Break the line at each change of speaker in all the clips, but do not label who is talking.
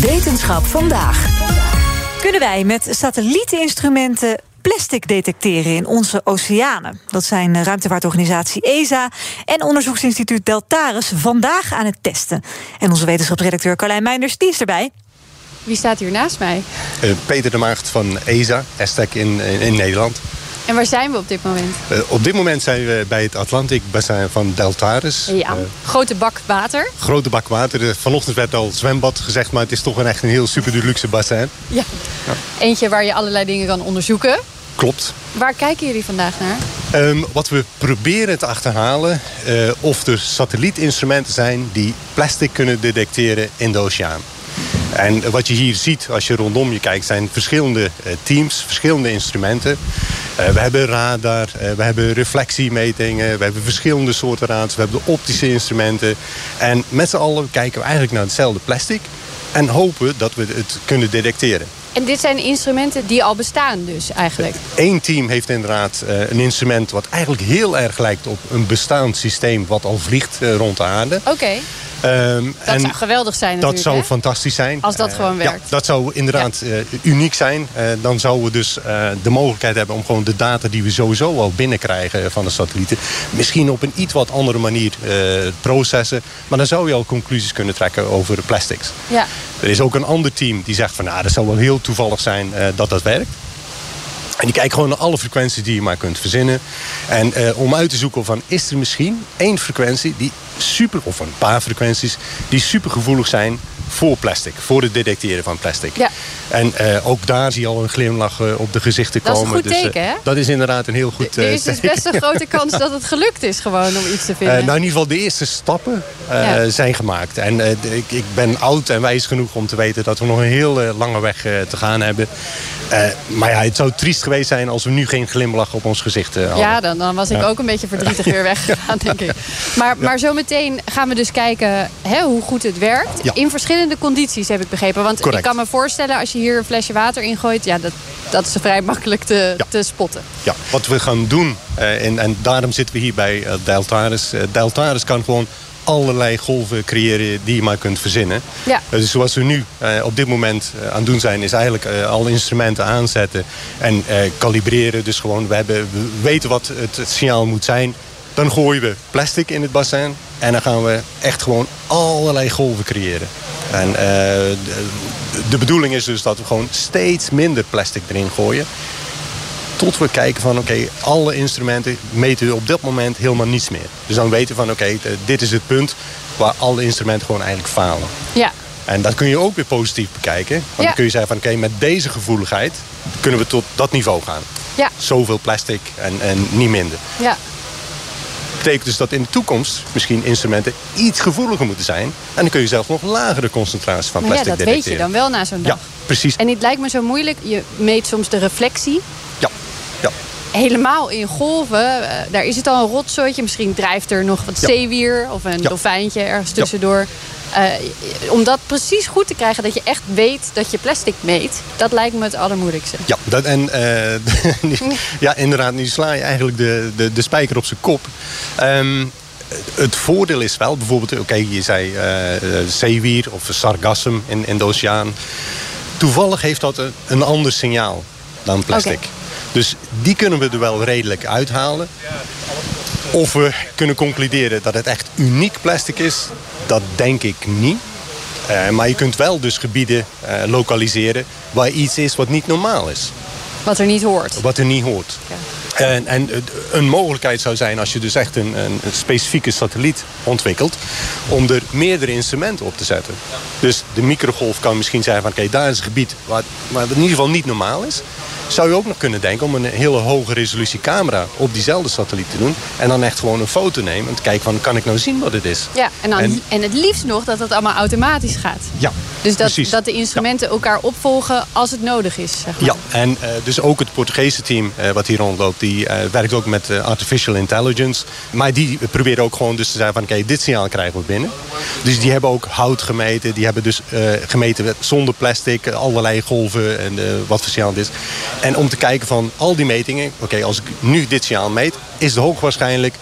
Wetenschap vandaag. Kunnen wij met satellietinstrumenten plastic detecteren in onze oceanen? Dat zijn ruimtevaartorganisatie ESA en onderzoeksinstituut Deltares vandaag aan het testen. En onze wetenschapsredacteur Carlijn Meinders, die is erbij.
Wie staat hier naast mij?
Uh, Peter de Maagd van ESA, ESTEC in, in, in, Nederland.
En waar zijn we op dit moment?
Uh, op dit moment zijn we bij het Atlantic Bassin van Deltares.
Ja, uh, grote bak water.
Grote bak water. Vanochtend werd al zwembad gezegd, maar het is toch een echt een heel super deluxe bassin.
Ja. ja. eentje waar je allerlei dingen kan onderzoeken.
Klopt.
Waar kijken jullie vandaag naar?
Um, wat we proberen te achterhalen eh, of er satellietinstrumenten zijn die plastic kunnen detecteren in de oceaan. En wat je hier ziet als je rondom je kijkt, zijn verschillende eh, teams, verschillende instrumenten. Uh, we hebben radar, uh, we hebben reflectiemetingen, we hebben verschillende soorten radars, we hebben optische instrumenten. En met z'n allen kijken we eigenlijk naar hetzelfde plastic en hopen dat we het kunnen detecteren.
En dit zijn instrumenten die al bestaan dus eigenlijk?
Eén team heeft inderdaad uh, een instrument wat eigenlijk heel erg lijkt op een bestaand systeem wat al vliegt eh, rond de aarde. Ehm,
Oké. Okay. Um, dat zou geweldig zijn
Dat zou
hè?
fantastisch zijn. Eh,
Als dat uh, gewoon werkt. Ja,
dat zou inderdaad ja. uh, uniek zijn. Uh, dan zouden we dus de mogelijkheid hebben om gewoon de data die we sowieso al binnenkrijgen van de satellieten. misschien op een iets wat andere manier eh, processen. Maar dan zou je al conclusies kunnen trekken over de plastics.
Ja.
Er is ook een ander team die zegt van nou, dat zou wel heel toevallig zijn eh, dat dat werkt. En die kijkt gewoon naar alle frequenties die je maar kunt verzinnen. En eh, om uit te zoeken van is er misschien één frequentie die super, of een paar frequenties, die super gevoelig zijn voor plastic, voor het detecteren van plastic.
Ja.
En eh, ook daar zie je al een glimlach eh, op de gezichten
dat
komen. eh,
Dat is een goed dus, teken, hè?
Dat is inderdaad een heel goed eh,
teken. Er is dus best een grote kans dat het gelukt is gewoon om iets te vinden.
nou, in ieder geval de eerste stappen ja. zijn gemaakt. En eh, ik, ik, ben oud en wijs genoeg om te weten dat we nog een heel eh, lange weg te gaan hebben. Eh, maar ja, het zou triest geweest zijn als we nu geen glimlach op ons gezicht eh, hadden.
Ja, dan, dan was ik ja. ook een beetje verdrietig weer weggegaan, denk ik. Maar, maar zometeen gaan we dus kijken hè, hoe goed het werkt. Ja. In verschillende condities, heb ik begrepen. Want
Correct.
ik kan me voorstellen, als je hier een flesje water ingooit... Ja, dat, dat is vrij makkelijk te, ja. te spotten.
Ja, wat we gaan doen, uh, en, en daarom zitten we hier bij uh, Deltaris. Uh, Deltaris kan gewoon allerlei golven creëren die je maar kunt verzinnen.
Ja.
Dus zoals we nu eh, op dit moment eh, aan het doen zijn... is eigenlijk eh, alle instrumenten aanzetten en eh, kalibreren. Dus gewoon, we, hebben, we weten wat het, het, signaal moet zijn. Dan gooien we plastic in het bassin. En dan gaan we echt gewoon allerlei golven creëren. En eh, de, de bedoeling is dus dat we gewoon steeds minder plastic erin gooien tot we kijken van oké, okay, alle instrumenten meten we op dat moment helemaal niets meer. Dus dan weten we van oké, okay, dit is het punt waar alle instrumenten gewoon eigenlijk falen.
Ja.
En dat kun je ook weer positief bekijken. Want ja. dan kun je zeggen van oké, okay, met deze gevoeligheid kunnen we tot dat niveau gaan.
Ja.
Zoveel plastic en, en niet minder.
Ja.
Dat betekent dus dat in de toekomst misschien instrumenten iets gevoeliger moeten zijn. En dan kun je zelf nog lagere concentraties van plastic
detecteren. Ja, dat weet je dan wel na zo'n dag.
Ja, precies.
En het lijkt me zo moeilijk. Je meet soms de reflectie
ja, ja.
Helemaal in golven, uh, daar is het al een rotzooitje. Misschien drijft er nog wat ja. zeewier of een ja. dolfijntje ergens tussendoor. Uh, om dat precies goed te krijgen, dat je echt weet dat je plastic meet, dat lijkt me het allermoeilijkste.
Ja, dat, en uh, ja, inderdaad, nu sla je eigenlijk de, de, de spijker op zijn kop. Um, het voordeel is wel, bijvoorbeeld, oké, okay, je zei eh, zeewier of sargassum in, in de oceaan. Toevallig heeft dat een, een ander signaal dan plastic. Okay. Dus die kunnen we er wel redelijk uithalen. Of we kunnen concluderen dat het echt uniek plastic is, dat denk ik niet. Uh, maar je kunt wel dus gebieden uh, lokaliseren waar iets is wat niet normaal is.
Wat er niet hoort.
Wat er niet hoort.
Ja.
En, en eh, een mogelijkheid zou zijn als je dus echt een, een specifieke satelliet ontwikkelt... om er meerdere instrumenten op te zetten. Dus de microgolf kan misschien zijn van... oké, daar is een gebied waar, waar het in ieder geval niet normaal is. Zou je ook nog kunnen denken om een hele hoge resolutie camera... op diezelfde satelliet te doen en dan echt gewoon een foto nemen... en te kijken van, kan ik nou zien wat het is?
Ja, en, dan, en,
En-
het liefst nog dat dat allemaal automatisch gaat.
Ja,
Dus dat,
precies.
dat de instrumenten elkaar opvolgen als het nodig is. Zeg maar.
Ja, en eh, dus ook het Portugese team eh, wat hier rondloopt, die eh, werkt ook met eh, artificial intelligence. Maar die proberen ook gewoon dus te zeggen van oké, dit signaal krijgen we binnen. Dus die hebben ook hout gemeten, die hebben dus eh, gemeten met- zonder plastic, eh, allerlei golven en eh, wat voor signaal het is. En om te kijken van al die metingen, oké, als ik nu dit signaal meet, is het hoogwaarschijnlijk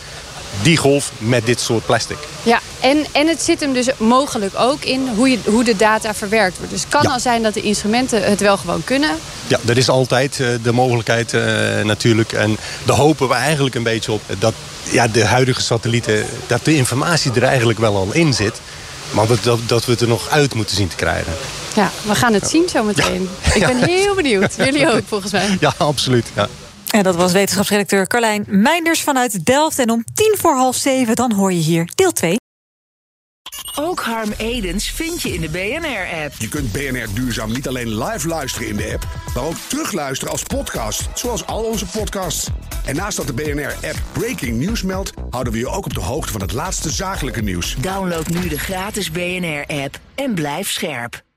die golf met dit soort plastic.
Ja, en, en het zit hem dus mogelijk ook in hoe, je, hoe de data verwerkt wordt. Dus het kan
Ja.
al zijn dat de instrumenten het wel gewoon kunnen.
Ja, er is altijd eh, de mogelijkheid eh, natuurlijk. En daar hopen we eigenlijk een beetje op. Dat ja, de huidige satellieten, dat de informatie er eigenlijk wel al in zit. Maar dat, dat, dat we het er nog uit moeten zien te krijgen.
Ja, we gaan het zien zometeen. Ik ben heel benieuwd. Jullie ook volgens mij.
Ja, absoluut. Ja.
En dat was wetenschapsredacteur Carlijn Meinders vanuit Delft. En om tien voor half zeven, dan hoor je hier deel 2.
Ook Harm Edens vind je in de BNR-app.
Je kunt BNR Duurzaam niet alleen live luisteren in de app, maar ook terugluisteren als podcast, zoals al onze podcasts. En naast dat de BNR-app Breaking News meldt, houden we je ook op de hoogte van het laatste zakelijke nieuws.
Download nu de gratis BNR-app en blijf scherp.